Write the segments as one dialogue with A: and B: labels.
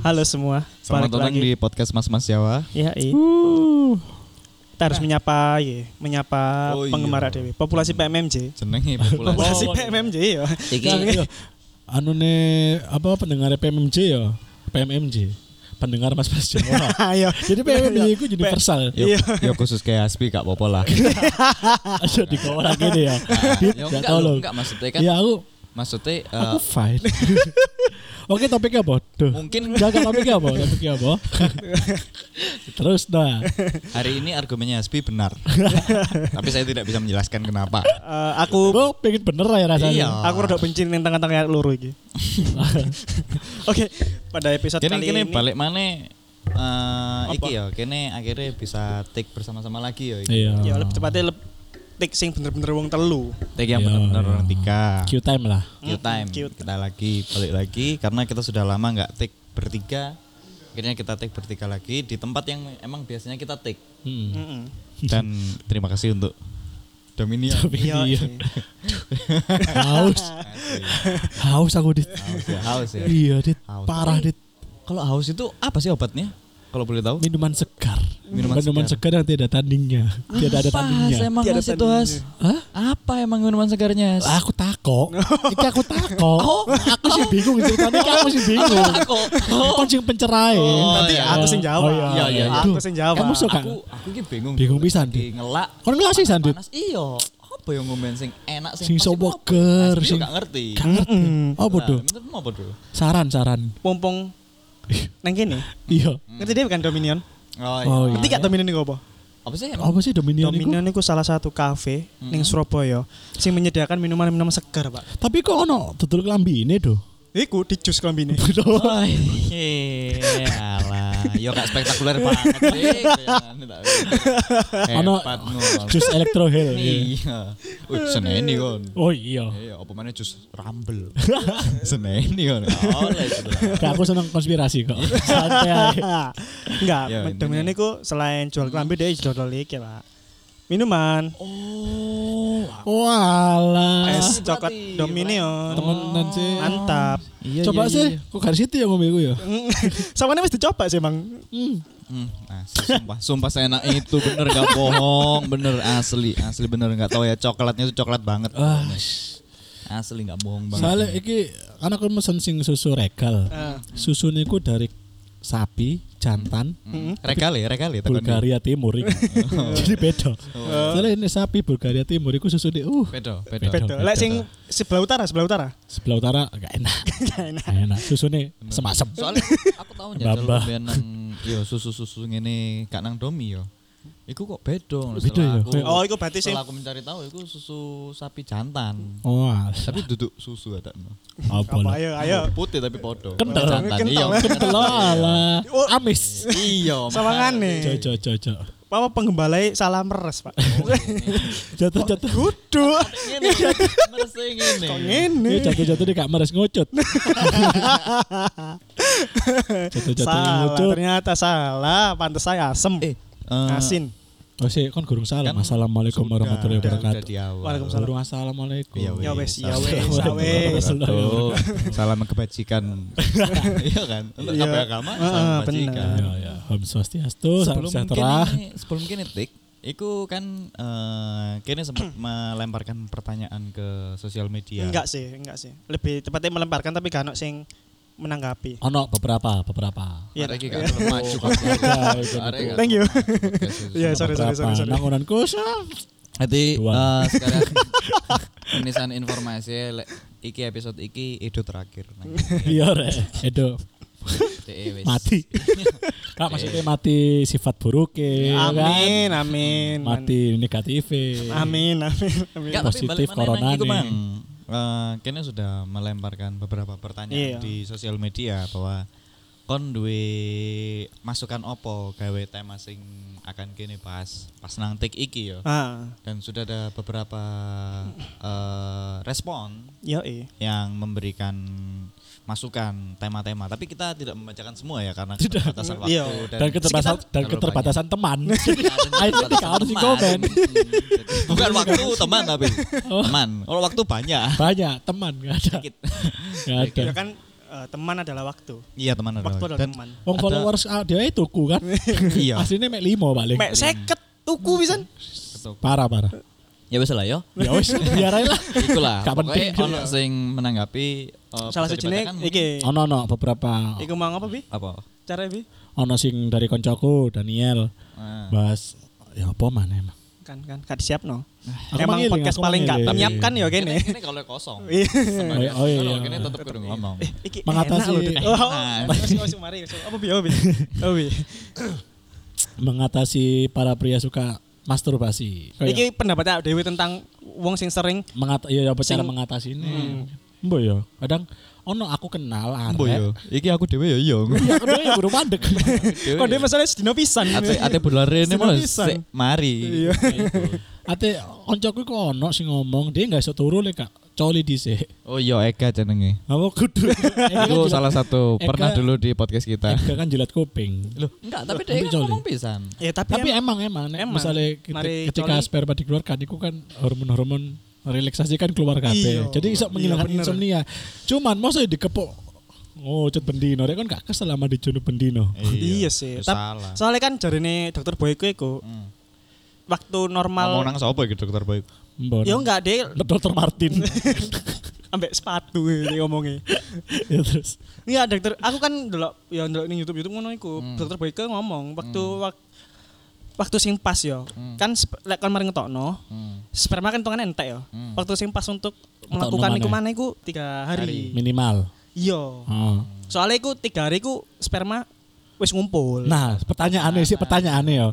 A: Halo semua.
B: Selamat datang di podcast Mas Mas Jawa.
A: Ya, iya. Kita harus menyapa, ya, menyapa
B: Oh, iya. Oh,
A: penggemar ADW. Populasi PMMJ.
B: Jenenge populasi.
A: Populasi PMMJ ya.
C: Iki
D: Iya. anu nih apa pendengar PMMJ ya? PMMJ. Pendengar Mas Mas Jawa.
A: Ayo.
D: Jadi
A: Iya,
D: PMMJ itu universal.
B: Yo, yo khusus kayak Aspi Iya. gak apa-apa lah.
D: Aja di kau lagi deh ya. Dit,
C: Ya
D: gak
C: enggak
D: tau
C: loh,
D: loh.
C: enggak maksudnya kan.
D: Ya aku
C: Maksudnya eh,
D: aku fine. Oke topiknya apa? Duh.
C: mungkin
D: Enggak enggak, topiknya apa? Topiknya apa? Terus nah.
B: Hari ini argumennya Aspi benar. Tapi saya tidak bisa menjelaskan kenapa.
A: Eh, aku
D: Gue pengen bener lah ya rasanya.
B: Iya.
A: aku rada benci ning tengah-tengah luru iki. Oke, pada episode
B: Kini
A: kali
B: kini
A: ini
B: balik mana? eh iki ya, kini akhirnya bisa take bersama-sama lagi ya. Iki.
D: Iya.
A: ya lebih tepatnya leb- tik sing bener-bener wong telu.
B: Take yang
D: Iya,
B: benar-benar
D: iya.
B: orang tiga.
D: Q time lah.
B: Q time.
A: Cute.
B: Kita lagi balik lagi karena kita sudah lama nggak take bertiga. Akhirnya kita take bertiga lagi di tempat yang emang biasanya kita take.
D: Hmm.
A: Heeh.
B: Dan terima kasih untuk Dominia.
A: Iya.
D: Iya.
A: sih.
D: Haus. Haus aku dit.
B: Haus ya, haus ya.
D: Iya dit.
B: Haus.
D: Parah dit.
B: Kalau haus itu apa sih obatnya? Kalau boleh tahu?
D: Minuman segar.
B: Minuman
D: Minuman, segar. yang tidak ada tandingnya. Tidak ada tandingnya.
C: emang
A: Tiada
C: Mas itu Has?
D: Hah?
C: Apa emang minuman segarnya? Has?
D: Lah, aku takok. Iki aku takok.
A: Oh.
D: aku sih bingung ceritanya iki aku sih bingung. Kon sing pencerai.
A: Nanti
B: iya.
A: aku sing jawab.
D: iya,
B: iya, iya.
A: Aku sing jawab.
D: Kamu suka?
B: Aku aku ki bingung.
D: Bingung pisan,
B: Lagi Ngelak.
D: Kon ngelas sih Sandit.
C: Panas iya. Apa yang ngomben sing enak
D: Sing
C: pas itu apa?
D: seger,
C: Mas,
D: sing-
C: gak ngerti.
A: Mm-mm. Mm.
D: Oh bodoh.
B: Nah, Menurutmu apa dulu?
D: Saran-saran.
A: Pompong nang kene.
B: Mm.
D: Iya.
A: Ngerti dia bukan Dominion?
B: Oh,
D: Oh, iya.
A: Ngerti gak Dominion iku apa?
C: Apa sih? emang?
D: Apa sih Dominion iku?
A: Dominion itu salah satu kafe ning Surabaya sing menyediakan minuman-minuman segar, Pak.
D: Tapi kok ono dodol klambi ini do.
A: Iku di jus klambine.
C: Oh, iya.
B: Alah, yo gak spektakuler banget sih. gitu ya.
D: Ono
B: Hebat ngono.
D: jus elektro hell. iya.
B: Iya. Wih, seneni kon.
D: Oh iya.
B: Iya, apa mana jus rambel. seneni kon. Oleh sudah.
D: Kayak aku seneng konspirasi kok.
A: Iya.
D: Santai. aja.
A: Enggak,
B: Ya, intinya.
A: Dominion iku selain jual klambi dia jual iki, Pak. Minuman,
C: Oh.
B: Iya,
D: Walah.
A: es coklat
C: berarti.
A: Dominion.
D: Temenan sih.
A: Mantap.
B: Iya,
D: Coba
B: iya,
D: sih, kok garis itu ya ngombe iku ya?
A: Sawane wis dicoba sih, Mang.
B: Hmm, nah, sumpah, sumpah seenak itu bener gak bohong, bener asli, asli bener nggak tahu ya coklatnya itu coklat banget,
D: Ah,
B: asli nggak bohong
D: Soalnya
B: banget.
D: iki kan aku mesen sing susu regal.
A: Ah.
D: Susu niku dari sapi, jantan,
B: Hmm. Regal ya, regal ya. takoni.
D: Bulgaria Timur iki. Jadi beda. Soalnya ini sapi Bulgaria Timur iku susu di uh
B: Pedo, pedo.
A: Betul. Lek sing sebelah utara, sebelah utara.
D: sebelah utara enggak enak. Enggak enak. Susune semasem.
B: Soalnya aku tahu ya
D: Mbah-mbah.
B: nang yo susu-susu ngene gak nang domi yo. Iku kok bedo ngono,
D: Bedo
B: setelah
D: ya?
B: aku-
D: Kayak-
A: Oh, iku berarti sing
B: Setelah aku mencari tahu iku susu sapi jantan.
D: Oh,
B: Tapi duduk susu ada. no.
D: apa
A: apa ya?
D: lah.
A: ayo ayo.
B: Putih tapi podo.
D: Kental.
B: Jantan. Iya,
A: Kental.
D: Kental ala. Amis.
B: Iya.
A: Sawangane.
D: Jojo jojo.
A: Apa penggembalai salah meres, Pak.
D: Jatuh jatuh.
A: Duduk.
B: Ngene. Merasa ngene.
A: Kok
D: Iya
A: ngene?
D: jatuh jatuh di kamar ngocut. jatuh jatuh
A: Salah,
D: ngocut.
A: ternyata salah. Pantes saya asem.
B: Eh, eh,
A: Asin.
D: Oh sih, kan gurung salam.
B: Kan
D: Assalamualaikum
B: Sudah,
D: warahmatullahi
B: udah,
D: wabarakatuh.
B: udah di awal.
A: Waalaikumsalam.
D: Gurung assalamualaikum.
B: Iya,
A: Ya wes, ya
B: Salam.
A: wes, ya
B: iya,
A: wes.
B: Tuh, salam kebajikan. iya kan? Untuk
A: Iya.
B: sampai agama,
A: Heeh,
B: salam
A: bener.
B: kebajikan.
D: Ya ya, Om Swastiastu, salam
B: iya. Sebelum
D: sejahtera.
B: kini, sebelum kini tik, Iku kan eh kini sempat melemparkan pertanyaan ke sosial media.
A: Enggak sih, enggak sih. Lebih tepatnya melemparkan tapi gak ono sing menanggapi.
D: Ono beberapa, beberapa.
A: Iya.
B: Arek iki gak terlalu maju. Arek gak
A: Thank you.
B: terlalu podcast itu.
A: Iya, sorry sorry sorry
D: Beberapa.
A: sorry.
D: Nangunan kusa.
B: Jadi
D: Dua.
B: eh, sekarang penisan informasi lek iki episode iki edo terakhir. Nang iki.
D: Iya re. Edo
B: DE wis.
D: mati. Kak maksudnya mati sifat buruk ya kan?
A: Amin, Ah. amin.
D: Mati negatif.
A: Amin, amin, amin.
B: Enggak, tapi
D: Positif
B: balik mana
D: corona
B: nang iku,
D: nih.
B: Mang. Eh, kene sudah melemparkan beberapa
A: Iya.
B: pertanyaan di sosial media bahwa kon duwe masukan opo gawe tema sing akan kene pas pas nang tik iki yo.
A: Ah,
B: Dan sudah ada beberapa eh, respon
A: yo eh.
B: yang memberikan masukan tema-tema tapi kita tidak membacakan semua ya karena keterbatasan waktu
A: Iya.
D: Dan keterbatasan dan
B: terlalu
D: keterbatasan teman.
B: banyak.
D: Ayo nanti harus di komen.
B: Jadi, bukan waktu teman
D: Oh.
B: tapi teman kalau waktu banyak
D: Banyak teman nggak ada.
B: Dikit.
D: Nggak ada.
A: Ya kan eh, teman adalah waktu.
B: Iya teman adalah
A: Waktu
B: waktu.
A: adalah
B: Dan
A: teman.
D: Wong
B: Ada-
D: followers ah, dia itu tuku kan.
B: iya.
D: Aslinya mek limo paling.
A: Mek seket tuku kan? pisan.
D: Parah parah.
C: Ya wis lah yo.
D: Ya wis biar ae lah.
C: Ikulah.
D: Gak
C: Pokoknya
D: penting.
C: ono sing menanggapi
B: Oh,
C: eh,
A: Salah
C: bisa
A: sijine
C: dibacakan.
A: iki.
D: Ono ono beberapa
A: Iku mau apa bi?
C: apa?
A: Cara bi?
D: ono sing dari koncoku Daniel
C: Ah.
B: Nah.
D: bahas ya apa mana emang.
A: Kan kan gak siap no.
D: Aku
A: Emang
D: mangiling,
A: podcast
D: aku
A: paling gak
D: mangiling.
A: menyiapkan ya
C: Kene
A: kene.
C: kene kalau kosong.
A: Iya.
C: Sebenarnya.
D: Oh, iya.
C: Kalau kene tetep kudu ngomong.
B: Eh,
A: Iki
D: Mengatasi-
A: enak loh, Dut. Oh, oh,
C: Enak.
A: terus, terus, mari. Apa bi? Apa bi? Apa bi?
D: mengatasi para pria suka masturbasi. Kayak
A: Iki pendapat Dewi tentang wong sing sering
D: mengata ya apa cara
A: Sing-
D: mengatasi ini. Mbok ya, kadang ono aku kenal arek.
B: Mbok yo. Iki aku dhewe yo iya.
D: Ya aku dhewe ya guru mandek.
A: Kok dia masalahnya sedino pisan.
B: Ate ate bulare ini malah
A: Sinopisan.
B: sik mari.
A: Iya.
D: Ate koncoku iku ono sing ngomong dia enggak iso turu lek Kak. Coli dhisik.
B: Oh iya Ega jenenge.
D: Apa kudu?
B: Itu salah satu
D: Ega-
B: pernah dulu di podcast kita.
D: Ega kan jilat kuping.
C: Enggak, tapi dia
D: Nanti
C: kan
D: jolly.
C: ngomong pisan.
A: Ya tapi,
D: Tapi emang emang, nek
A: emang.
D: misalnya kita-
A: Mari
D: ketika
A: coli.
D: sperma dikeluarkan itu kan hormon-hormon relaksasi kan keluar kabeh.
A: Iya.
D: Jadi
A: Iya,
D: bisa menghilangkan
A: bener.
D: insomnia. Cuman masa dikepuk ngucut bendino, rek kan gak kesel sama dijunuk bendino.
A: Iya sih.
B: itu
A: Tap-
B: Salah.
A: soalnya kan jarine dokter Boyko iku
B: Hmm.
A: waktu
B: Ngomong
A: normal
B: nang sapa ya, gitu, iki dokter baik?
D: Mbon.
A: ya enggak deh
D: Dr. Martin.
A: ambek sepatu ini ngomongnya.
D: ya terus.
A: Iya dokter, aku kan delok ya delok ning YouTube YouTube ngono iku.
B: Hmm.
A: Dokter Boyke ngomong waktu wak- waktu sing pas ya.
B: Hmm.
A: Kan sp- lek kon mari ngetokno, sperma kan hitungannya entek ya. Waktu sing pas untuk melakukan iku mana
D: maneh.
A: iku tiga hari.
D: Minimal.
A: Iya.
D: Oh.
A: Soalnya iku tiga hari iku sperma wis ngumpul.
D: Nah, pertanyaannya sih pertanyaannya ya.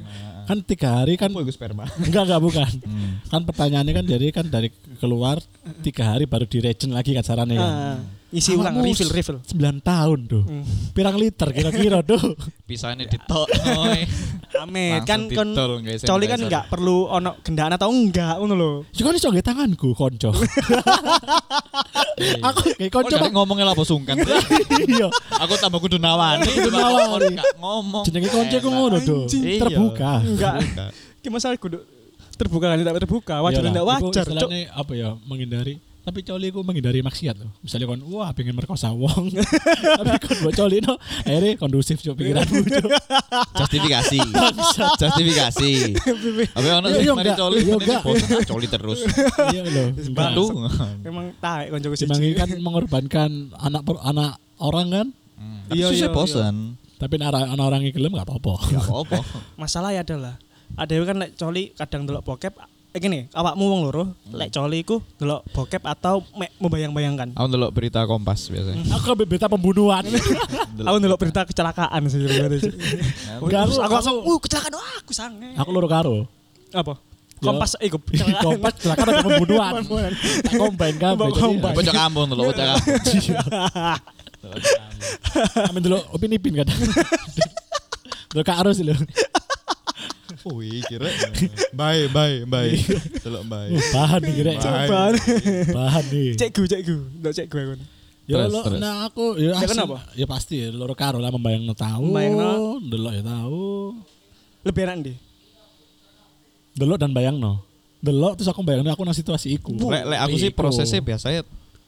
D: Kan tiga hari kan
B: Apa iku sperma?
D: Enggak, enggak bukan.
A: Hmm.
D: Kan pertanyaannya kan jadi kan dari keluar tiga hari baru diregen lagi kan sarannya kan.
A: Ah, isi ulang Hmm.
D: Awakmu
A: refill refill.
D: 9 tahun tuh. Pirang liter kira-kira tuh.
B: Pisane ditok. Noy.
A: Amin. Kan
B: Langsung
A: kon
B: didol, guys, yang
A: coli kan
B: dasar.
A: enggak perlu ono gendaan atau enggak ngono lho.
D: Juga nih soge kan
A: Oh,
D: tanganku konco.
A: iya.
D: Aku kayak
B: Kok
D: konco.
B: jare Iya. Oh, ngomongnya lapo sungkan.
D: Iya.
B: Aku tambah kudu nawani.
D: Kudu nawani.
B: Gak ngomong.
D: Jenenge konco ku ngono tuh.
A: Anjing.
B: Iya.
D: Terbuka.
A: Enggak. Ki masalah kudu terbuka kan tidak terbuka, wajar
D: Iyalah,
A: tidak
D: iku
A: wajar. Cok.
D: Istilahnya apa ya menghindari tapi coli ku menghindari maksiat loh. Misalnya kon wah pengen merkosa wong. tapi kon buat coli no akhirnya kondusif cok pikiranmu cok.
B: Justifikasi. Justifikasi. Apa ono
D: Yo,
B: sing
D: yo,
B: mari
D: Iya, enggak.
B: coli,
D: Yo,
B: ini
D: enggak.
B: bosen, ah, coli terus.
D: Iya loh.
B: Batu.
A: Emang taek konjoku
D: Semanggi
A: siji.
D: kan mengorbankan anak per- anak orang kan.
B: Tapi
A: Iya, iya,
B: sih bosen.
D: Tapi nek anak orang yang gelem gak apa-apa.
B: Gak apa-apa.
A: Masalahnya ya adalah ada yang kan lek coli kadang delok bokep eh gini, awakmu wong loro, lek coli iku delok bokep atau me- membayang-bayangkan.
B: Aku ndelok berita Kompas biasanya.
D: Aku kan bebeta pembunuhan.
A: Aku delok berita kecelakaan sih sebenarnya.
D: Udah aku
A: Terus aku
D: aku
A: langsung, "Uh, kecelakaan wah, aku sange."
D: aku loro karo.
A: Apa?
D: Ya.
A: Kompas eh, iku
D: Kompas kecelakaan ada pembunuhan. Tak kan? kombain kabeh.
A: Mbak kombain.
B: Bocah kampung
D: Iya.
B: ndelok bocah kampung.
D: Amin dulu Upin Ipin kadang. Lho Kak Arus lho.
B: Wih, kira. Bye, bye, bye. Delok bye.
D: Bahan nih kira.
A: Coba.
D: Bahan nih.
A: Cekku, cekku. Ndak cekku aku.
D: Ya
B: Terus,
D: lo
B: terus.
D: nah aku
A: Ya,
D: ya asli-
A: kenapa?
D: Ya pasti ya loro karo lah membayangno tahu.
A: Membayangno.
D: Delok ya tahu.
A: Lebih enak ndi?
D: Delok dan bayangno. Delok terus aku bayangno aku nang situasi iku.
B: Lek lek aku sih
D: Iku.
B: prosesnya biasanya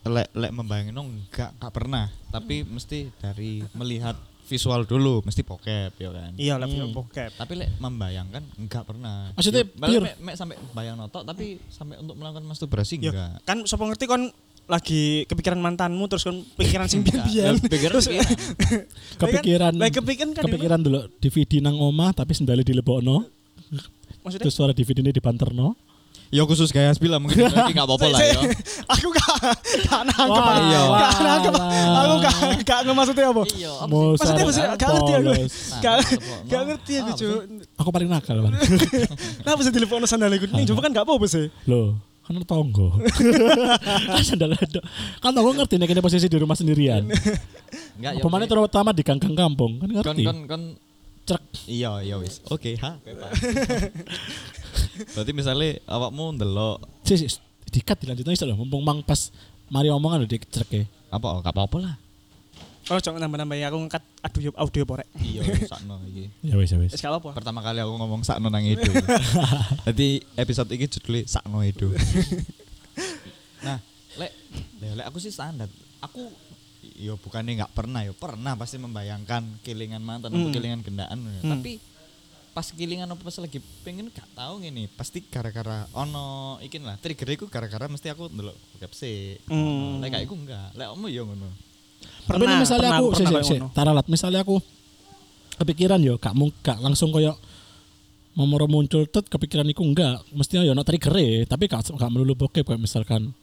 B: lek lek membayangin enggak enggak pernah, tapi mesti dari melihat visual dulu, mesti bokep ya kan.
A: Iya, lebih bokep.
B: Tapi lek membayangkan enggak pernah. Ya,
D: Maksudnya
B: Malah
D: pure?
B: mek, mek sampai bayang notok tapi sampai untuk melakukan masturbasi
A: Ya,
D: Iya.
B: enggak.
A: kan sapa ngerti kon lagi kepikiran mantanmu terus kon pikiran sing biyen.
B: Pikiran pikiran.
D: kepikiran
A: Lah kan kepikiran kan
D: kan- kepikiran dulu DVD nang omah tapi sendalnya dilebokno
A: maksudnya
D: terus suara DVD ini dibanterno
B: Ya khusus gaya bila mungkin lagi enggak apa-apa lah ya.
A: aku gak gak nangkep
D: Wah,
A: aku
D: iya.
A: gak nangkep
D: Wah.
A: aku gak gak ngemaksudnya apa
C: Iya, apa sih?
D: Mozart
A: maksudnya maksudnya gak ngerti aku
D: Apollos.
A: gak
B: Nah,
A: gak ngerti aku
B: apa
A: cuy
D: aku paling nakal Bang.
A: kenapa sih telepon sandal ikut nih coba kan gak apa-apa sih
D: Loh, kan lu tonggo. kan sandal ada. Kan tonggo ngerti nek ini posisi di rumah sendirian.
B: Enggak ya.
D: Pemane terutama di ganggang kampung, kan
B: kon
D: ngerti.
B: kon kon
D: Cerek.
B: iya iya wis oke ha berarti misalnya awakmu ndelok
D: Si, si, dikat dilanjutnya iso lho, mumpung mang pas mari omongan udah dicerek ya.
B: apa oh gak apa-apa lah
A: kalau coba nambah-nambah ya aku ngangkat audio audio porek
B: iya sakno iki
D: Ya wis ya wis.
A: Wis gak apa-apa
B: pertama kali aku ngomong sakno nang edo jadi episode ini judulnya sakno edo nah lek lek lek aku sih standar aku yo bukannya nggak pernah yo pernah pasti membayangkan kelingan mantan atau kelingan gendaan ya.
A: Hmm.
B: tapi pas kelingan apa pas lagi pengen gak tahu ngene pasti gara-gara ono ikin lah trigger iku gara-gara mesti aku ndelok bokep sih
A: Hmm.
B: lek gak iku enggak lek omu yo ngono
D: Tapi nih misalnya aku,
A: pernah
D: sih,
A: kayak
D: sih, sih,
A: ngono.
D: taralat, misalnya aku kepikiran yo, gak mung gak langsung koyo momoro muncul tet kepikiran iku enggak, mestinya yo no trigger ya, tapi gak gak melulu bokep kayak misalkan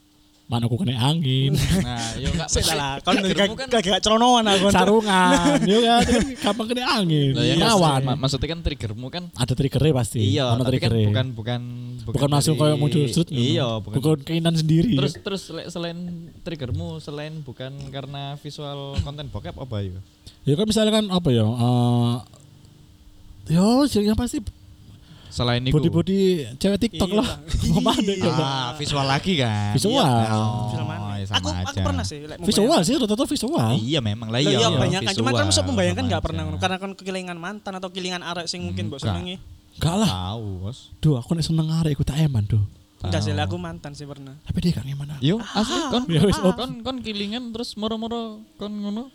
D: mana aku kena angin,
B: nah yo gak
A: Sik lah, kon
B: Triggermu kan-
A: gak gak ceronoan aku.
D: sarungan, yo kan, itu kan gampang kena angin,
B: Lah, ya kan,
D: kawan.
B: mak- maksudnya kan triggermu kan
D: Ada triggernya pasti,
B: iya
D: ada
B: tapi kan
D: triggernya.
B: bukan bukan
D: bukan langsung
B: dari-
D: kayak muncul sudut
B: iya
D: ngono.
B: bukan,
D: bukan keinginan sendiri ya.
B: terus terus lek selain triggermu selain bukan karena visual konten bokep apa yo
D: ya kan misalkan apa ya eh yo sih yang pasti
B: selain itu
D: body body cewek TikTok
A: Iya.
D: lah mau mana coba
B: Ah, visual lagi kan?
D: Visual.
B: Iya.
A: Film
B: Oh,
A: mana?
B: ya
A: aku,
B: sama
A: aku
B: aja.
A: pernah sih. like,
D: visual sih rata-rata visual
B: Iya memang
A: membayangkan.
B: lah
A: Lah,
B: iya.
A: Iya, banyak kan. Cuma kan
B: Visual,
A: masuk membayangkan
B: sama
A: nggak
B: aja.
A: pernah ngono. Karena kan kekilingan mantan atau kekilingan arek sing mungkin mbok
B: Enggak.
A: senengi.
D: enggak lah
B: Tahu, Bos.
D: duh aku nek seneng arek ikut tak eman duh
A: Enggak sih, lah, aku mantan sih pernah.
D: tapi dia gak eman aku.
B: Yo, asli kon
D: Ya wis, op.
B: kon kon kilingan terus moro-moro kon ngono.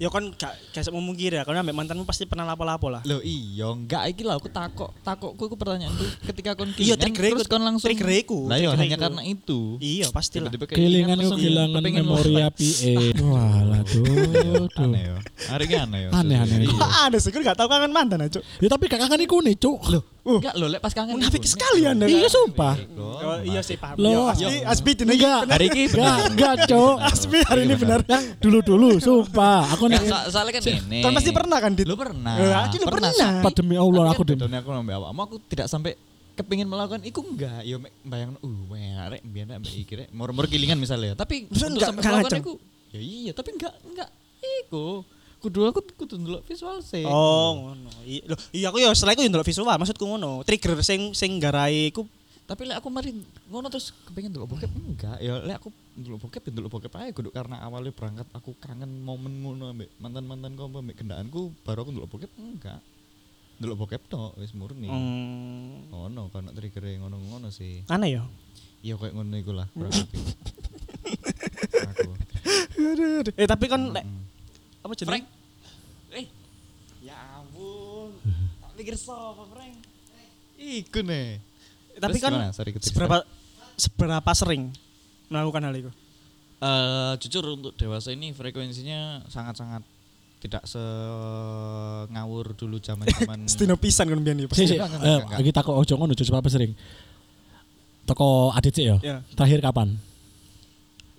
A: Ya kon gak gak sok memungkiri ya. Karena ambek mantanmu pasti pernah lapo-lapo lah.
B: Lo iya, enggak iki lah aku takok, takokku iku pertanyaanku ketika kon
A: Iya,
B: kilingan
A: trigger
B: terus
A: iku-
B: kon langsung
A: trigger iku,
B: Lah iya
A: trigger
B: hanya
A: iku.
B: karena itu.
A: Iya, pasti lah.
B: Tiba-tiba
D: kehilangan
B: langsung
D: kehilangan
B: kepengen
D: memori
B: lo-
D: api eh walah duh duh
B: Aneh yo. Hari ini aneh yo.
D: Aneh, aneh, aneh.
B: Iya.
A: Kok ada sih? Kon gak tau kangen mantan aja.
D: ya tapi gak kangen iku nih cuk
B: Enggak lo lek pas kangen.
A: Munafik
B: iku,
A: sekali Anda.
D: iya sumpah
A: Oh, iya sih paham.
D: Loh.
A: Yo, Asbi, Asbi jenenge
D: Enggak.
A: bener.
B: Hari ini
D: Enggak, enggak, Cok.
A: Asbi hari ini benar.
D: Iya, Dulu-dulu, sumpah. Aku nek
B: Enggak, so- soalnya kan ini.
A: Kon pasti pernah kan, Dit?
B: Lo pernah.
A: Eh, aku juga pernah.
D: Sumpah demi Allah aku
B: aku
D: demi.
B: aku nambah awakmu aku tidak sampai kepingin melakukan iku enggak ya mek bayang uh weh arek mbiyen ambek iki rek mor-mor gilingan misalnya tapi
A: Bisa
B: untuk
A: enggak,
B: sampai
A: enggak
B: melakukan
A: ngajeng?
B: iku ya iya tapi enggak enggak iku kudu aku kudu ndelok visual sih
A: Oh, ngono. I- Loh, iya aku yo setelah aku yo ndelok visual, maksudku ngono. Trigger sing sing garai iku
B: tapi lek aku mari ngono terus kepingin ndelok bokep enggak ya lek aku ndelok bokep ya ndelok bokep aja kudu karena awalnya berangkat aku kangen momen ngono ambek mantan-mantan kau ambek kendaanku baru aku ndelok bokep enggak ndelok bokep tok wis murni
A: hmm,
B: ngono kan trigger ngono-ngono sih
A: aneh ya? yo.
B: Iya kayak ngono iku lah kurang lebih. Aku.
A: Eh tapi kan lek apa jenenge?
B: Hmm. Frank. Eh. Ya ampun. Tak pikir sapa, Frank. Iku nih.
A: Tapi
B: Terus
A: kan
B: gimana? Sorry, ketik,
A: seberapa seberapa sering melakukan hal itu?
B: Hmm. Eh, jujur untuk dewasa ini frekuensinya sangat-sangat tidak se ngawur dulu zaman-zaman.
A: Stino pisan kan biyen
D: Sih,
A: iki.
D: sih.
B: Enggak, enggak,
D: Eh,
B: enggak.
D: Kita kok ojo ngono, Cuk. Sumpah apa sering. Toko adit sih ya.
A: Iya.
D: Terakhir kapan?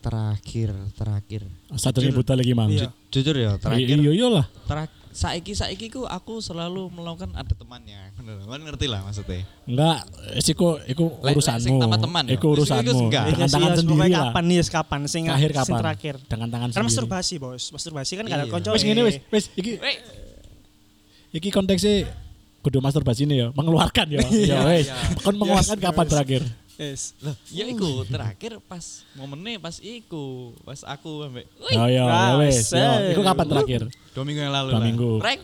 B: terakhir, terakhir.
D: Satu buta lagi mang.
A: Iya.
B: Jujur ya,
D: Iya
B: terakhir.
D: iya iya lah.
B: Terak saiki saiki ku aku selalu melakukan ada temannya. Bener, kan ngerti lah maksudnya.
D: Enggak, siku iku
B: Lek- lek sing
D: urusanmu.
B: tambah teman ya?
D: Iku
B: Sing
D: urusanmu.
B: iku enggak.
D: Dengan tangan
A: Iya,
D: sendiri
A: pokoknya
D: lah.
A: Kapan nih? Kapan sing
D: Terakhir
A: sing
D: kapan?
A: terakhir?
D: Dengan tangan
A: Karena
D: sendiri.
A: masturbasi, Bos. Masturbasi kan gak ada
B: Iya.
A: konco.
D: Wis ngene wis, wis iki iki konteksnya kudu masturbasi ini ya, mengeluarkan ya. Ya wis. Kon mengeluarkan kapan terakhir?
A: Yes.
B: Lah, ya iku terakhir pas momennya pas iku, pas aku ambek Wih,
D: Oh ya, ya
A: Nah,
D: wis.
A: sel.
D: Ya, Iku kapan terakhir?
B: dua minggu yang lalu
D: Dua
B: lah.
D: minggu.
B: Rek.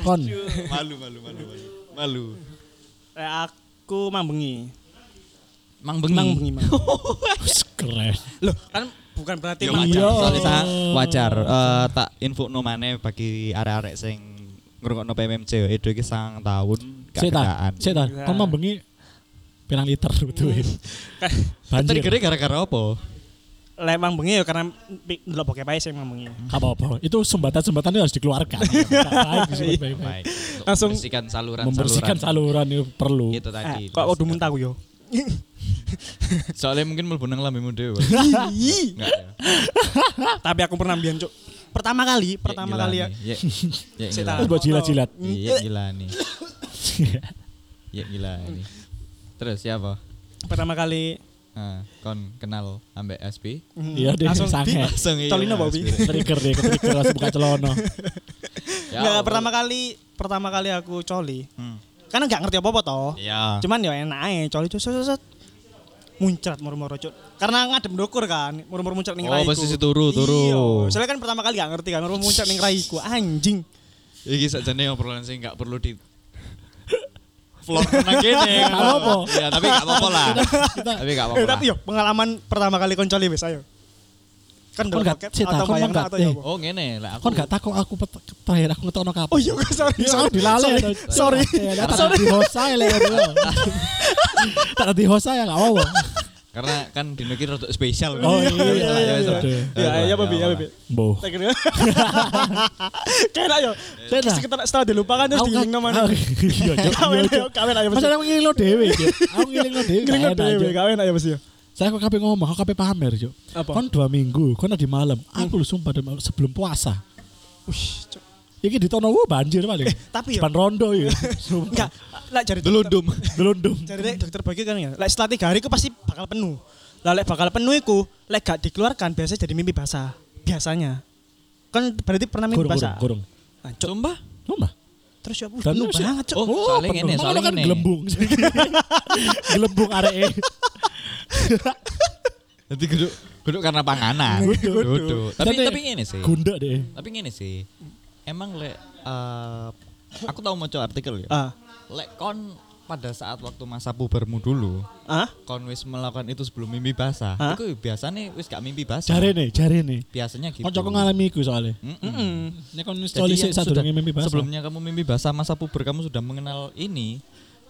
D: Kon.
B: Aduh, Malu, malu, malu, malu. Malu.
A: Eh, aku mambengi.
B: Mang
D: Hmm.
A: Mang bengi, mang.
D: Wis, Keren.
A: Loh, kan bukan berarti
B: Ya
A: mang-
B: wajar,
D: Iya.
B: soalnya tak wajar. Eh, tak info no maneh bagi arek-arek sing ngrungokno PMMC yo Edo iki sang tahun
D: Setan,
B: keadaan.
D: setan.
A: Iya.
D: Kon mambengi pirang liter duit.
B: Tadi
D: Banjir.
B: gara gara-gara apa?
A: Kan, Lek mang bengi ya karena pi- ndelok bokep ae sing mang bengi.
D: apa-apa. Itu sembatan-sembatannya harus dikeluarkan. Nggak baik, disebut baik-baik.
B: Baik. untuk
A: Langsung
B: membersihkan saluran.
D: Membersihkan saluran itu perlu.
B: Itu
A: Eh,
B: tadi.
A: kok udah muntah aku yo.
B: Soalnya mungkin mlebu nang lambemu dhewe.
A: Ih,
B: Enggak ya.
A: Tapi aku pernah biyen, Cuk. Pertama kali, pertama
B: gila
A: kali ya.
B: nih. Ya, ya
A: Saya
B: gila.
A: tahu.
D: Terus buat jilat-jilat.
B: Ya gila nih. Ya gila nih. Terus siapa?
A: Pertama kali
B: Nah, kon kenal ambek SP?
A: mm,
D: Iya, dia
A: langsung
D: sange.
A: di
B: Langsung iya,
A: Colino
B: Mas.
A: Bobby.
D: Trigger deh, trigger langsung buka celono.
A: Enggak, pertama kali pertama kali aku coli.
B: Ya Hmm.
A: Karena enggak ngerti apa-apa toh.
B: Ya.
A: Cuman ya enak ae coli cus cus cus. Muncrat murmur cuk. Karena ngadem dokur kan, murmur muncrat ning
B: Oh,
A: raiku.
B: posisi turu, turu.
A: Iya, soalnya kan pertama kali enggak ngerti kan, murmur muncrat ning raiku. Anjing.
B: Iki sajane obrolan sing enggak perlu di floor nang kene.
D: Nggak apa-apa.
B: Ya, tapi enggak apa-apa lah. Tapi enggak
A: Eh,
B: apa-apa.
A: tapi yo pengalaman pertama kali kon coli wis ayo. Kan
D: Kon
A: ndelok
D: gak-
A: bokep
D: Cita,
A: atau
D: kon
A: bayangan
D: gak-
A: atau
D: eh.
A: ya apa?
B: Oh ngene, lah aku
D: Kon gak takut aku pet- terakhir aku ngetokno kapan?
A: Oh iya, sorry,
D: Soalnya
A: sorry,
D: dilale.
A: sorry,
D: Ya, tak di host ae lek ngono. Tak di host ae gak apa-apa.
B: karena kan Dino ki rodok spesial.
D: Oh
B: Ya,
D: iya, iya,
B: ya,
D: iya.
B: ya,
D: Aduh.
A: Ya, ya, Babi, ya, Babi.
D: Mboh.
A: Tak kira. Kena yo.
D: Kena.
A: Sekitar setelah dilupakan terus
D: Aku gak-
A: diiling namanya.
D: Aku- Iya, Cuk.
A: Kamen
D: Iya,
A: ayo, kamen ayo.
D: Masa aku ngiling lo dewe, Cuk. Aku Iya. ngiling lo dewe.
A: Ngiling
D: gak enak,
A: dhewe,
D: Cuk.
A: kamen ayo mesti.
D: Saya kok kabeh ngomong, aku kabeh pamer, Cuk.
A: Apa? Hmm.
D: Kon dua minggu, kon di malam. Aku lu sumpah di malam, sebelum puasa.
A: Ush, Cuk.
D: Iki ditono wo banjir paling.
A: Eh, tapi yo.
D: Depan rondo ya.
A: Enggak, lek jari
B: Delundum.
D: Delundum.
A: Jadi dokter bagi kan ya, lek setelah tiga hari itu pasti bakal penuh. Lah lek bakal penuh iku, lek gak dikeluarkan biasanya jadi mimpi basah. Biasanya. Kan berarti pernah mimpi
D: Kurung,
A: basah.
D: kurung, kurung.
A: Nah, Cuk,
B: Sumpah.
D: Sumpah.
A: terus ya, wuh,
D: Dan
A: bener
D: lu
A: sih.
D: banget, Cuk.
B: Oh, soalnya
D: penuh.
B: ngene,
D: Makanya
B: soalnya
D: kan
B: ngene.
D: gelembung. gelembung e. areke.
B: Jadi geduk geduk karena panganan. Geduk. Tapi
D: Jadi-
B: tapi ngene sih.
D: Gundek deh.
B: Tapi ngene sih. Emang lek eh, aku tahu mau artikel ya.
A: Ah.
B: Lek kon pada saat waktu masa pubermu dulu,
A: Ah?
B: kon wis melakukan itu sebelum mimpi basah.
A: Hah?
B: Itu biasanya wis gak mimpi basah.
D: Jare nih, jare nih.
B: Biasanya gitu.
D: Kocokku ngalami iku soalnya. kan
B: Mm-mm.
D: Nek kon wis
B: Jadi
D: coli
B: yang
D: sik
B: sudah-
D: sadurunge mimpi basah.
B: Sebelumnya kamu mimpi basah masa puber kamu sudah mengenal ini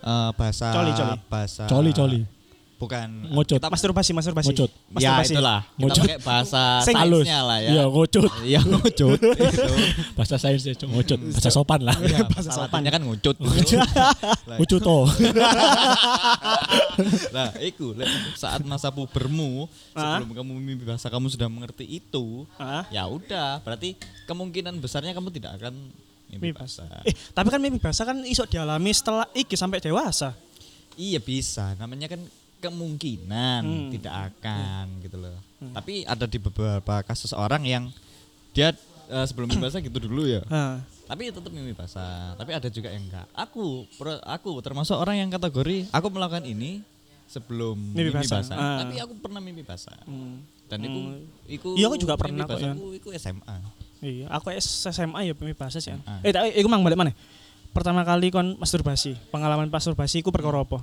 B: eh bahasa
A: Coli, coli.
B: bahasa
D: coli coli.
B: bukan
D: Ngocot.
B: kita
A: Masturbasi, masturbasi.
D: Ngucut.
B: ya
A: Masturbasi.
B: itulah kita
D: Ngocot.
B: pakai bahasa
A: Sing-
D: Halus.
B: sainsnya lah ya
D: Iya, ngocut.
B: ya ngocot gitu.
D: Bahasa sains ya, Cuk. ngocut. Bahasa sopan lah.
A: Bahasa
B: ya, bahasa
A: sopan.
B: sopannya kan ngocot
D: Ucuto.
B: nah itu lek saat masa pubermu
A: Ah.
B: sebelum kamu mimpi basah kamu sudah mengerti itu
A: Ah?
B: ya udah berarti kemungkinan besarnya kamu tidak akan mimpi
A: Mimpi basah.
B: basah
A: Eh, tapi kan mimpi basah kan iso dialami setelah iki sampai dewasa.
B: Iya bisa, namanya kan kemungkinan
A: Hmm.
B: tidak akan gitu loh. Tapi ada di beberapa kasus orang yang dia eh, sebelum mimpi basah gitu dulu ya.
A: Nah,
B: Tapi tetap mimpi basah. Tapi ada juga yang enggak. Aku pro- aku termasuk orang yang kategori aku melakukan ini sebelum
A: Mimpi
B: mimpi,
A: basah.
B: basah.
A: Ah. Hmm.
B: Tapi aku pernah mimpi basah. Dan itu iku
A: Iya, aku juga
B: mimpi
A: pernah kok,
B: basah
A: Yan.
B: aku, iku SMA.
A: iya, aku SMA ya mimpi basah sih. kan.
B: Ah.
A: Eh, tapi iku mang balik mana? Pertama kali kon masturbasi, pengalaman masturbasi iku perkara apa?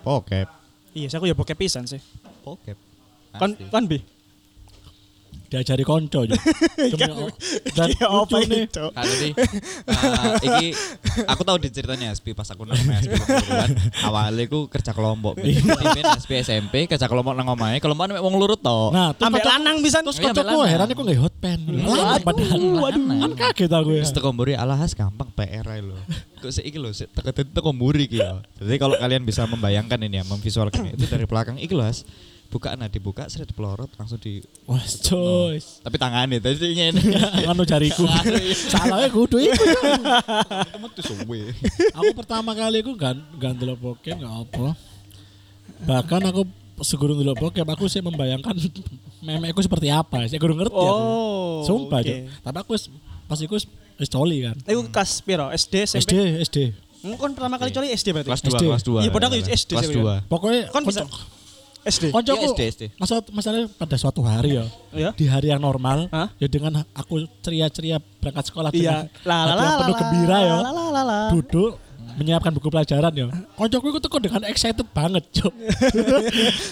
B: Pokep.
A: Iya, aku ya bokep pisan sih.
B: Pokep.
A: Kon
B: Pasti.
A: kon bi.
D: Diajari konco, Cuk. Cuma- Dan
A: Iya, apa
D: lucu nih.
A: itu?
B: Nah, jadi eh, iki aku tahu diceritanya SP pas aku nang SP kebetulan. kan. Awalnya aku kerja kelompok.
A: Iya.
B: Pimpin SP SMP kerja kelompok nang omahe, kelompokan mek wong lurut to.
D: Nah, terus
A: Ambek
D: kocok-
A: lanang Oh, pisan.
D: terus
B: Iya, ambek
D: kocokku
B: lanang.
D: heran kok nggak hot pen. Lanang padahal.
B: Waduh,
D: Kan kaget aku ya.
B: Wis
A: iya.
B: teko mburi alahas gampang PR ae lho. Kok sik iki lho, sik teko teko mburi iki ya. Jadi kalau kalian bisa membayangkan ini ya, memvisualkan itu dari belakang iki lho, Has. Bukaan nah dibuka, seret pelorot langsung di
D: Wah, coy.
B: tapi tangannya tadi ngene.
A: Anu.
D: Ngono Kan anu jariku. Salahnya kudu iku. Cuk.
B: Metu suwe.
D: Aku pertama kali aku gan gantel bokep nggak apa. Bahkan aku segurung dulu bokep aku sih membayangkan memekku seperti apa. Saya kurang ngerti aku.
A: Oh.
D: Sumpah, Cuk.
A: oke.
D: Tapi aku wis- pas iku wis- wis coli kan.
A: Iku kelas piro? SD,
D: SD,
A: SMP.
D: SD.
A: Kon kan pertama kali coli SD berarti.
B: Kelas 2,
D: SD.
B: kelas 2.
A: Iya, padahal aku SD
B: Kelas
A: sih,
B: 2.
D: Pokoknya
A: Kon bisa. SD.
D: Konco
B: Iya, SD, SD.
D: maksud masalahnya pada suatu hari ya
A: Ya.
D: di hari yang normal
A: Hah?
D: ya dengan aku ceria-ceria berangkat sekolah
A: Iya.
D: dengan hati yang penuh gembira ya
A: La la la la.
D: duduk menyiapkan buku pelajaran ya. Koncoku itu kok dengan excited banget, Cuk.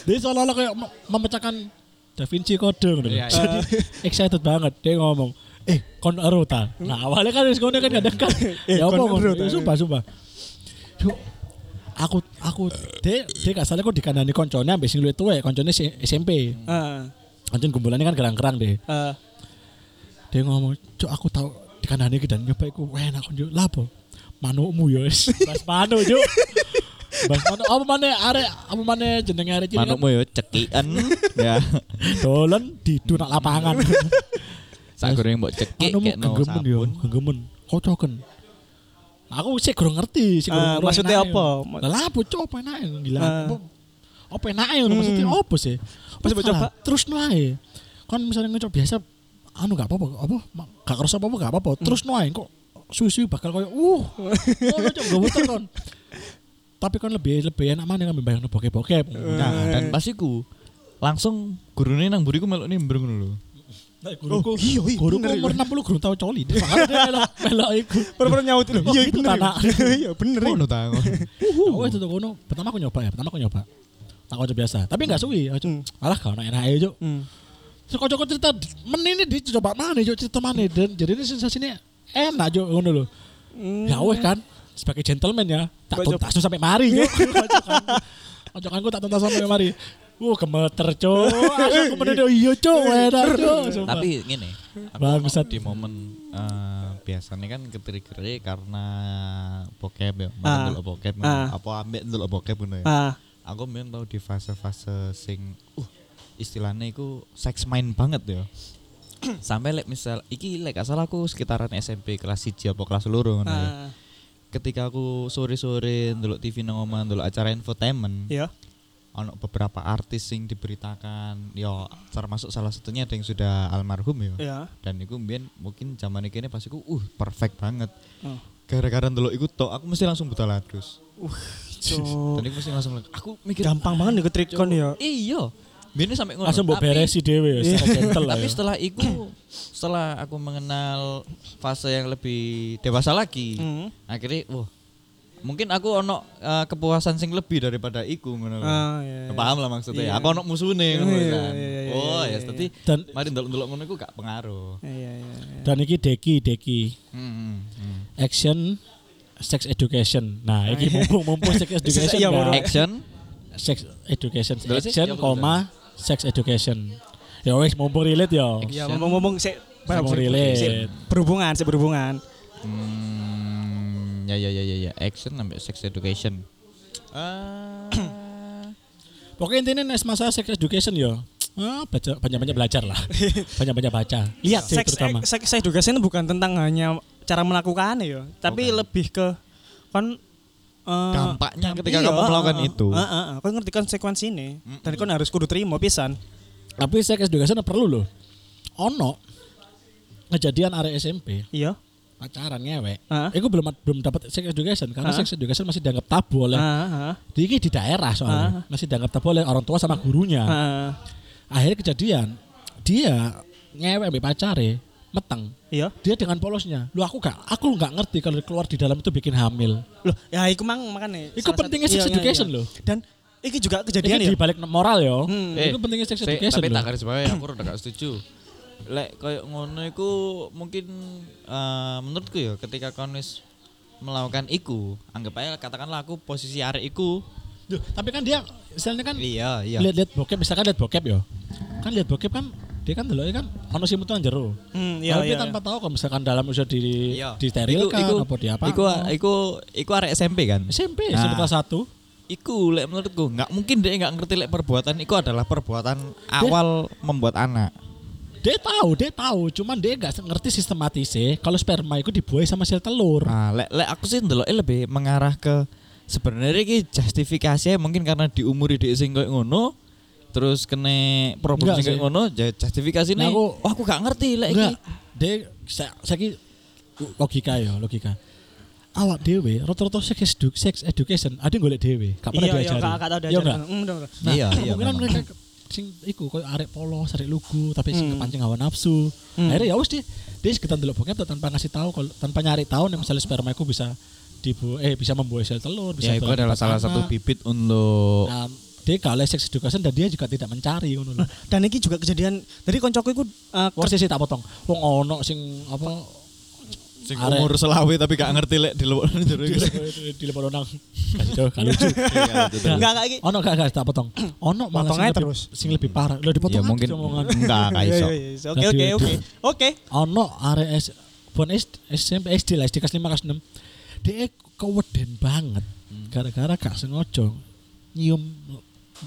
D: Dia seolah-olah kayak me- memecahkan Da Vinci kode gitu.
B: Iya, iya.
D: Jadi excited banget dia ngomong, "Eh, kon ero ta?" Nah, awalnya kan wis ngono kan kadang kan.
A: Eh,
D: Ya apa
A: kon
D: kon
A: ero ta?
D: Eh, sumpah sumpah. Cuk, aku aku dia dia gak salah kok dikandani koncone ambek sing luwih tuwek, koncone si- SMP.
A: Ah,
D: Koncone gumbulannya kan gerang-gerang deh
A: ah.
D: dia ngomong cok aku tahu di kanan ini dan nyoba aku enak aku yuk lapo manukmu yo wis." mas manu yuk mas manu apa mana are apa mana jenenge are cilik kan
B: Manukmu yo cekian ya.
D: dolan di dunak lapangan
B: Sak goreng mbok cekik
D: manukmu
B: kekno
D: genggemen yo
B: sabun.
D: genggemen kocoken Nah, aku sih kurang ngerti sih
A: Ah, maksudnya apa?
D: lapo cok apa enak gila
A: Ah.
D: Apa- apa enak maksudnya apa sih
A: Pas coba- coba.
D: terus nuai kan misalnya ngecoba biasa anu gak apa-apa apa ma- gak kerasa apa-apa gak apa-apa terus
A: Hmm.
D: nuai kok susu bakal kayak uh oh lo coba muter kon tapi kan lebih lebih enak mana kan membayang bokep bokep
A: Eh.
B: Nah, dan pas iku langsung gurune nang buriku melok nimbrung dulu.
D: guruku iya iya guruku
A: Oh, bener,
D: umur 60 gurung tau coli Dia makanya dia melok melok iku
A: Pernah nyaut lho. Iya,
D: Itu
A: bener.
D: tanah.
A: Iya, bener.
B: Oh, tangon.
A: Uhuh.
D: oh itu tuh kono pertama Ya, aku nyoba ya pertama aku nyoba tak kocok biasa tapi gak suwi aku cuma, alah kau enak aja
A: Hmm.
D: Sekocok cerita menini di coba mana yuk cerita mana dan jadi ini sensasinya enak yuk ngono lho. Ya weh kan sebagai gentleman ya tak
A: Hmm. Kocok.
D: tuntas sampai mari yuk. Kocokanku tak tuntas sampai mari. Wuh gemeter cuk. Aku menene iya cuk enak cuk. Sumpah.
B: Tapi gini, aku
D: Bangsat.
B: di momen eh, biasanya kan ketrigger karena bokep ya,
A: Ah.
B: malah dulu bokep,
A: Ah.
B: apa ambek dulu bokep gitu ya.
A: Ah,
B: Aku memang tau di fase-fase sing, uh, istilahnya itu seks main banget ya. Sampai lek misal, iki lek gak salah aku sekitaran SMP kelas 1 apa kelas loro ngono ya.
A: ah,
B: Ketika aku sore-sore ndelok TV nang omah ndelok acara infotainment,
A: iya.
B: ono beberapa artis sing diberitakan yo termasuk salah satunya ada yang sudah almarhum yo
A: Iya.
B: dan itu mbien mungkin zaman ini pas iku uh perfect banget
A: Oh.
B: gara-gara ndelok iku tok aku mesti langsung buta ladus
A: Uh, Cuk.
B: dan aku mesti langsung aku mikir
A: Gampang banget ikut trikon ya.
B: iya mbien sampai ngono
D: Langsung mbok beresi dhewe ya secara
A: Iya.
D: gentle lah.
B: tapi
D: ya.
B: setelah iku setelah aku mengenal fase yang lebih dewasa lagi
A: Hmm.
B: akhirnya wah mungkin aku ono eh, kepuasan sing lebih daripada iku ngono lho.
A: Ah, iya, iya.
B: paham lah maksudnya
A: Iya.
B: aku ono musuhnya
A: Iya,
B: ngono
A: iya,
B: kan.
A: iya, iya,
B: oh
A: iya,
B: ya
A: iya.
B: tadi
D: Dan
B: mari ndelok-ndelok ngono iku gak pengaruh
A: Iya, iya, iya.
D: dan iki deki deki
B: hmm, hmm.
D: action sex education. Nah, iki mumpung mumpung sex education.
A: Iya,
D: kan.
A: bodoh.
B: action
D: sex education
B: Betul sih?
D: action
B: Ya, betul.
D: koma sex education ya wes mumpung relate ya
A: Ya ngomong-ngomong sik sik-
D: Ngomong relate.
A: sik berhubungan, sik berhubungan.
B: hmm, ya ya ya ya ya action sampai sex education Ah,
D: pokoknya intinya nes masalah sex education ya ah, baca banyak banyak belajar lah banyak banyak baca lihat sih
A: Iya, seks eh,
D: terutama
A: seks seks edukasi ini bukan tentang hanya cara melakukannya ya, tapi lebih ke kon eh,
B: dampaknya ketika
A: iya,
B: kamu melakukan
A: eh, eh,
B: itu
A: eh, eh, eh, kon ngerti konsekuensi ini dan kon harus kudu terima pisan
D: tapi sex education perlu loh ono kejadian area SMP
A: iya
D: pacaran ngewek
A: Ah.
D: Iku belum belum dapat sex education karena
A: Ah.
D: sex education masih dianggap tabu oleh
A: Ah, ah,
D: di iki di daerah soalnya masih dianggap tabu oleh orang tua sama gurunya
A: ah,
D: akhirnya kejadian dia ngewek ambil pacare meteng
A: iya
D: dia dengan polosnya lu aku gak aku nggak ngerti kalau keluar di dalam itu bikin hamil
A: loh ya iku mang makane
D: Iku
A: salah
D: pentingnya
A: satu-
D: sex
A: iya, iya,
D: education
A: iya.
D: loh.
A: dan iki juga kejadian
D: ini
A: ya
D: di balik moral yo
A: Hmm.
D: itu pentingnya sex
B: Eh, saya-
D: education
B: Tapi tak
D: loh
B: garis bawah ya, aku udah gak setuju. Lek koyo ngono iku mungkin eh, menurutku ya ketika kon wis melakukan iku, anggap aja katakanlah aku posisi arek iku.
D: Duh, tapi kan dia misalnya kan
B: Iya, iya.
D: lihat-lihat bokep misalkan lihat bokep yo kan lihat bokep kan dia kan dulu kan manusia mutu jero
A: hmm, iya
D: tapi
A: iya
D: tanpa tahu kalau misalkan dalam usia di
B: Iya.
D: diterilkan
B: Iku- iku-
D: apa di apa
B: Iku iku iku arek SMP kan.
D: SMP
B: Nah.
D: SMP kelas satu
B: Iku lek menurutku nggak mungkin dia nggak ngerti lek perbuatan iku adalah perbuatan awal membuat anak.
D: dia tahu dia tahu cuman dia nggak ngerti sistematisnya kalau sperma itu dibuai sama sel telur
B: Nah, lek lek aku sih ndelok lebih mengarah ke sebenarnya iki justifikasinya mungkin karena diumuri di sing koyo ngono terus kena problem
D: Enggak
B: sing
D: sih.
B: koyo ngono ja- justifikasine
D: Nah, aku-
B: wah Oh, aku gak ngerti lek iki.
D: Enggak, dia saya saya logika ya logika. Awak dewe, rata-rata sex, edu, sex education ada yang golek dewe, gak pernah
A: iya iya
D: diajari.
A: gak gak tau
D: Iya
A: diajar
D: enggak?
A: Hmm, bener, bener.
D: Nah,
B: Iya,
D: iya,
B: iya,
D: kemungkinan
B: memang.
D: mereka sing iku koyo arek polos, arek lugu, tapi sing
A: Hmm.
D: kepancing hawa nafsu. Akhirnya ya wis deh, dia sekitar delok bokep tanpa ngasih tahu kalau tanpa nyari tahu nih misalnya sperma iku bisa dibu eh bisa membuai sel telur, bisa
B: Ya itu
D: berangkat
B: adalah salah
D: anak.
B: satu bibit untuk
D: Nah, dia gak oleh sex education dan dia juga tidak mencari ngono lho.
A: dan iki juga kejadian dari koncoku iku eh,
D: Wong sih tak potong. Wong ono sing apa
B: sing
D: arek-
B: umur selawe tapi gak ngerti lek di luar
D: di lebar nang kasih tau gak lucu
A: enggak enggak iki
D: ono gak gak tak potong ono malah
A: Potong
D: sing
A: aja
D: lebih,
A: terus.
D: sing lebih parah lo
B: Ya
D: dipotong aja
B: mungkin
D: omongan.
B: enggak gak
A: Iya,
B: iso.
A: iya, iya. oke oke
D: Nah,
A: oke
D: di-
A: oke
D: ono arek S bon S- SMP SD lah SD kelas 5 kelas 6 dia keweden banget
A: Hmm.
D: gara-gara gak sengaja nyium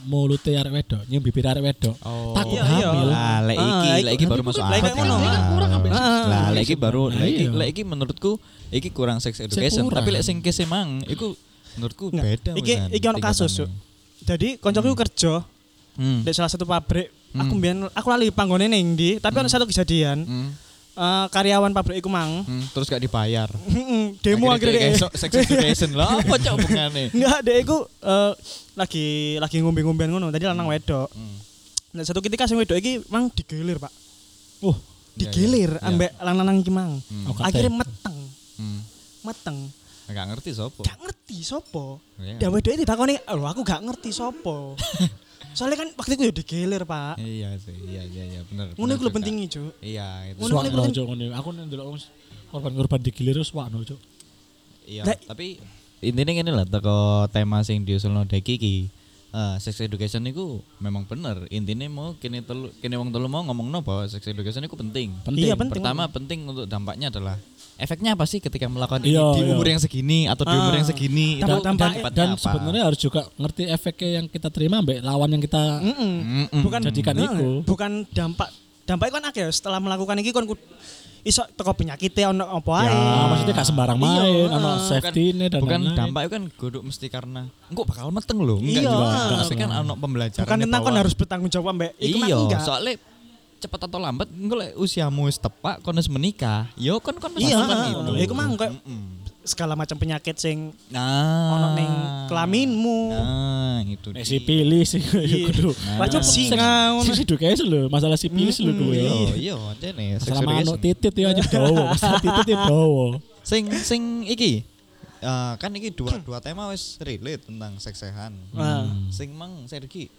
D: mulutnya arek wedok nyium bibir arek wedok
B: Oh.
D: takut
A: Iya, iya.
D: hamil
B: Lah lek iki
A: Ah,
B: lek iki
A: iku-
B: baru
A: iku
B: masuk
A: lek
B: akal.
A: kayak ngono.
D: Lek kan kurang ambek sex
B: Ah, Lah lek iki
D: education.
B: baru
D: Nah,
B: lek iki
D: iya.
B: lek iki menurutku iki kurang sex education
D: kurang.
B: tapi lek sing kese mang iku menurutku
A: Nggak,
B: beda.
A: iki
B: wisan
A: iki ono kasus Cuk.
B: tingkatannya.
A: jadi koncoku kerja
B: Hmm.
A: di salah satu pabrik aku mbien aku lali panggone ning ndi tapi ono satu kejadian
B: Hmm.
A: eh, karyawan pabrik iku mang
B: Hmm, terus gak dibayar.
A: Mm-mm, demo akhirnya
B: esok
A: deh
B: sex education lah apa cok hubungane?
A: enggak deh iku eh, lagi lagi ngombe-ngombean ngono tadi
B: Hmm.
A: lanang wedok nah satu ketika sing wedok iki mang digilir pak
D: uh
A: digilir
B: Oh, iya.
A: ambek lanang iki mang
D: Oh, kate.
A: akhirnya meteng
B: Hmm.
A: meteng
B: Gak ngerti sopo.
A: gak ngerti sopo
B: Iya.
A: dan wedok iki takoni lho aku gak ngerti sopo Soalnya kan waktu itu ya digelir, Pak.
B: Iya sih, iya iya iya benar.
A: Ngono
B: benar
A: iku lho
B: juga.
A: pentingnya, Cuk.
B: Iya, itu.
A: Ngono
D: Suwak
A: nek
D: no,
A: penting-
D: Cuk, ngono. Aku nek ndelok wong korban-korban digilir suwak no, Cuk.
B: Iya,
A: Lah-
B: tapi intinya ngene lah teko tema sing diusulno Deki iki. Eh, sex education niku memang bener. Intinya mau kene telu kene wong telu mau ngomongno bahwa sex education niku penting.
D: Penting.
A: Iya, penting.
B: Pertama penting untuk dampaknya adalah efeknya apa sih ketika melakukan
D: Iya,
B: ini di
D: iya.
B: umur yang segini atau di umur yang segini itu
D: Dan, dan,
B: dampaknya
D: dan
B: apa?
D: sebenarnya harus juga ngerti efeknya yang kita terima mbak lawan yang kita
A: Mm-mm.
B: Mm-mm.
A: Bukan
D: Jadikan
A: Nah,
D: iku.
A: Bukan dampak dampak iku kan akeh ya, setelah melakukan iki kon ku- iso teko penyakitnya ono apa ae.
D: Ah, maksudnya gak sembarang
A: Iya,
D: main,
A: ah.
D: ono safety ini dan
B: bukan
D: lain-lain.
B: dampak itu kan godok mesti karena engkau bakal meteng loh enggak
A: Iya.
B: juga
A: Enggak,
B: pasti kan ono pembelajaran
A: Bukan tentang kon harus bertanggung jawab mbak. Iku mah
B: iya
A: enggak.
B: soalnya cepet atau lambat engko lek usiamu wis tepak kon wis menikah yo kon kon wis
A: Iya,
B: temen
A: ah,
B: gitu.
A: iku mah engko-
B: Mm-mm.
A: segala macam penyakit sing
B: nah
A: ono ning kelaminmu.
B: nah itu dia.
D: Eh, sipilis sih ya,
A: Iya.
D: kudu.
B: Nah.
A: Wajib singa ngono.
D: Sing edukasi lho, masalah sipilis lho kuwi.
B: Yo, yo, jene, sex
D: iya. Masalah manuk
B: education.
D: titit ya aja dawa, masalah titit ya dawa.
B: sing sing iki eh, kan iki dua dua tema wis relate tentang seksehan
A: Ah.
B: sing mang Sergi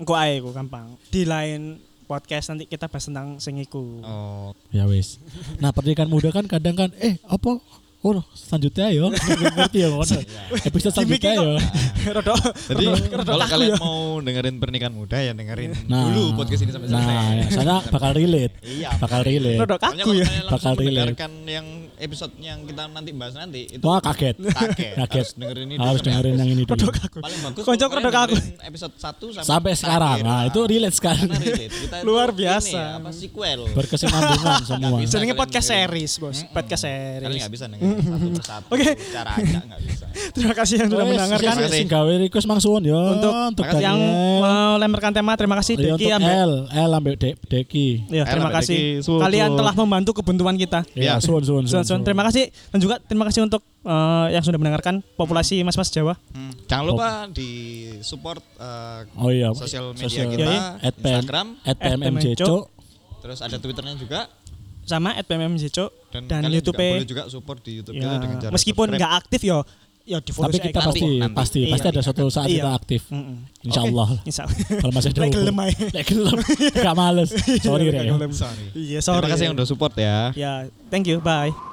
A: Engko ae iku gampang. Di lain podcast nanti kita bahas tentang sing iku.
B: oh
D: Ya wis. Nah, pernikahan muda kan kadang kan eh apa Oh, selanjutnya yo, ngerti ya ngono.
B: Iya.
D: Episode selanjutnya ya. yo.
A: Rodo.
B: Jadi
A: rodo
B: kalau
A: kaku
B: kalian
A: ya.
B: mau dengerin pernikahan muda ya dengerin
D: Nah,
B: dulu podcast ini sampai selesai.
D: Nah, ya, soalnya bakal relate.
B: Iya.
D: Bakal relate.
A: Rodo
B: Soalnya
A: kaku
B: kalau
A: ya.
B: kalian
D: Bakal
B: langsung
D: relate.
B: mendengarkan yang episode yang kita nanti bahas nanti itu
D: Wah, kaget.
B: kaget.
D: Kaget.
B: Harus dengerin ini
D: Harus
B: dulu.
D: dengerin yang ini
A: Rodo
D: dulu.
A: kaku.
B: Paling bagus
A: Kocok
B: kalau
A: rodo
B: kalian
A: kaku.
B: dengerin episode 1 sampai,
D: Sampai sekarang.
B: terakhir.
D: Nah, itu relate
B: Karena
D: sekali.
B: relate. Kita itu
A: Luar
B: ini
A: biasa.
B: ya, apa sequel.
D: Berkesinambungan semua.
B: bisa.
A: Jenenge
B: kalian
A: podcast
B: dengerin.
A: series, Bos. Podcast
B: Kalian
A: series.
B: nggak bisa dengerin satu persatu.
A: Oke.
B: Cara acak nggak bisa.
A: Terima kasih yang sudah
D: Wes, iya,
A: mendengarkan.
D: sing- Sing gawe request mang suwun yo.
A: Untuk
D: Daniel.
A: yang mau lemparkan tema, terima kasih
D: Iya,
A: Deki
D: untuk
A: ambek.
D: L, L ambek Dek- Deki.
A: Ya,
B: L
A: terima
B: ambek
A: kasih.
B: Deki. Suwun,
A: Kalian
B: suwun.
A: telah membantu kebuntuan kita.
D: Ya, suwun suwun
A: Suwun,
D: suwun.
A: suwun. Terima kasih dan juga terima kasih untuk eh, yang sudah mendengarkan populasi Mas-mas Jawa.
B: Hmm. Jangan lupa di support eh,
D: Oh iya.
B: sosial media
D: sosial-
B: kita,
A: Iya,
D: At PM
B: Instagram,
D: At PMMJ
A: PMMJ, Cuk.
D: Cuk.
B: terus ada Twitternya juga
A: Sama @pmmjco dan,
B: dan, kalian
A: YouTube.
B: juga boleh juga support di YouTube kita dengan cara
A: Meskipun
B: subscribe.
A: nggak aktif yo, yo di follow
D: Tapi
A: saya
D: kita
A: kan.
D: pasti
B: nanti.
D: pasti
A: Iya,
D: pasti ada
A: nanti.
D: suatu saat
A: Iya.
D: kita aktif.
A: Mm-mm.
D: Insyaallah.
A: Oke, Insya Allah.
D: Kalau masih ada
A: Lek
D: umur.
A: gelem ae.
D: Lek gelem. Gak males. Sorry
A: Lek
D: Rek.
A: gelem.
B: Sorry.
A: Iya, sorry.
B: Terima kasih yang udah support ya.
A: Ya, thank you. Bye.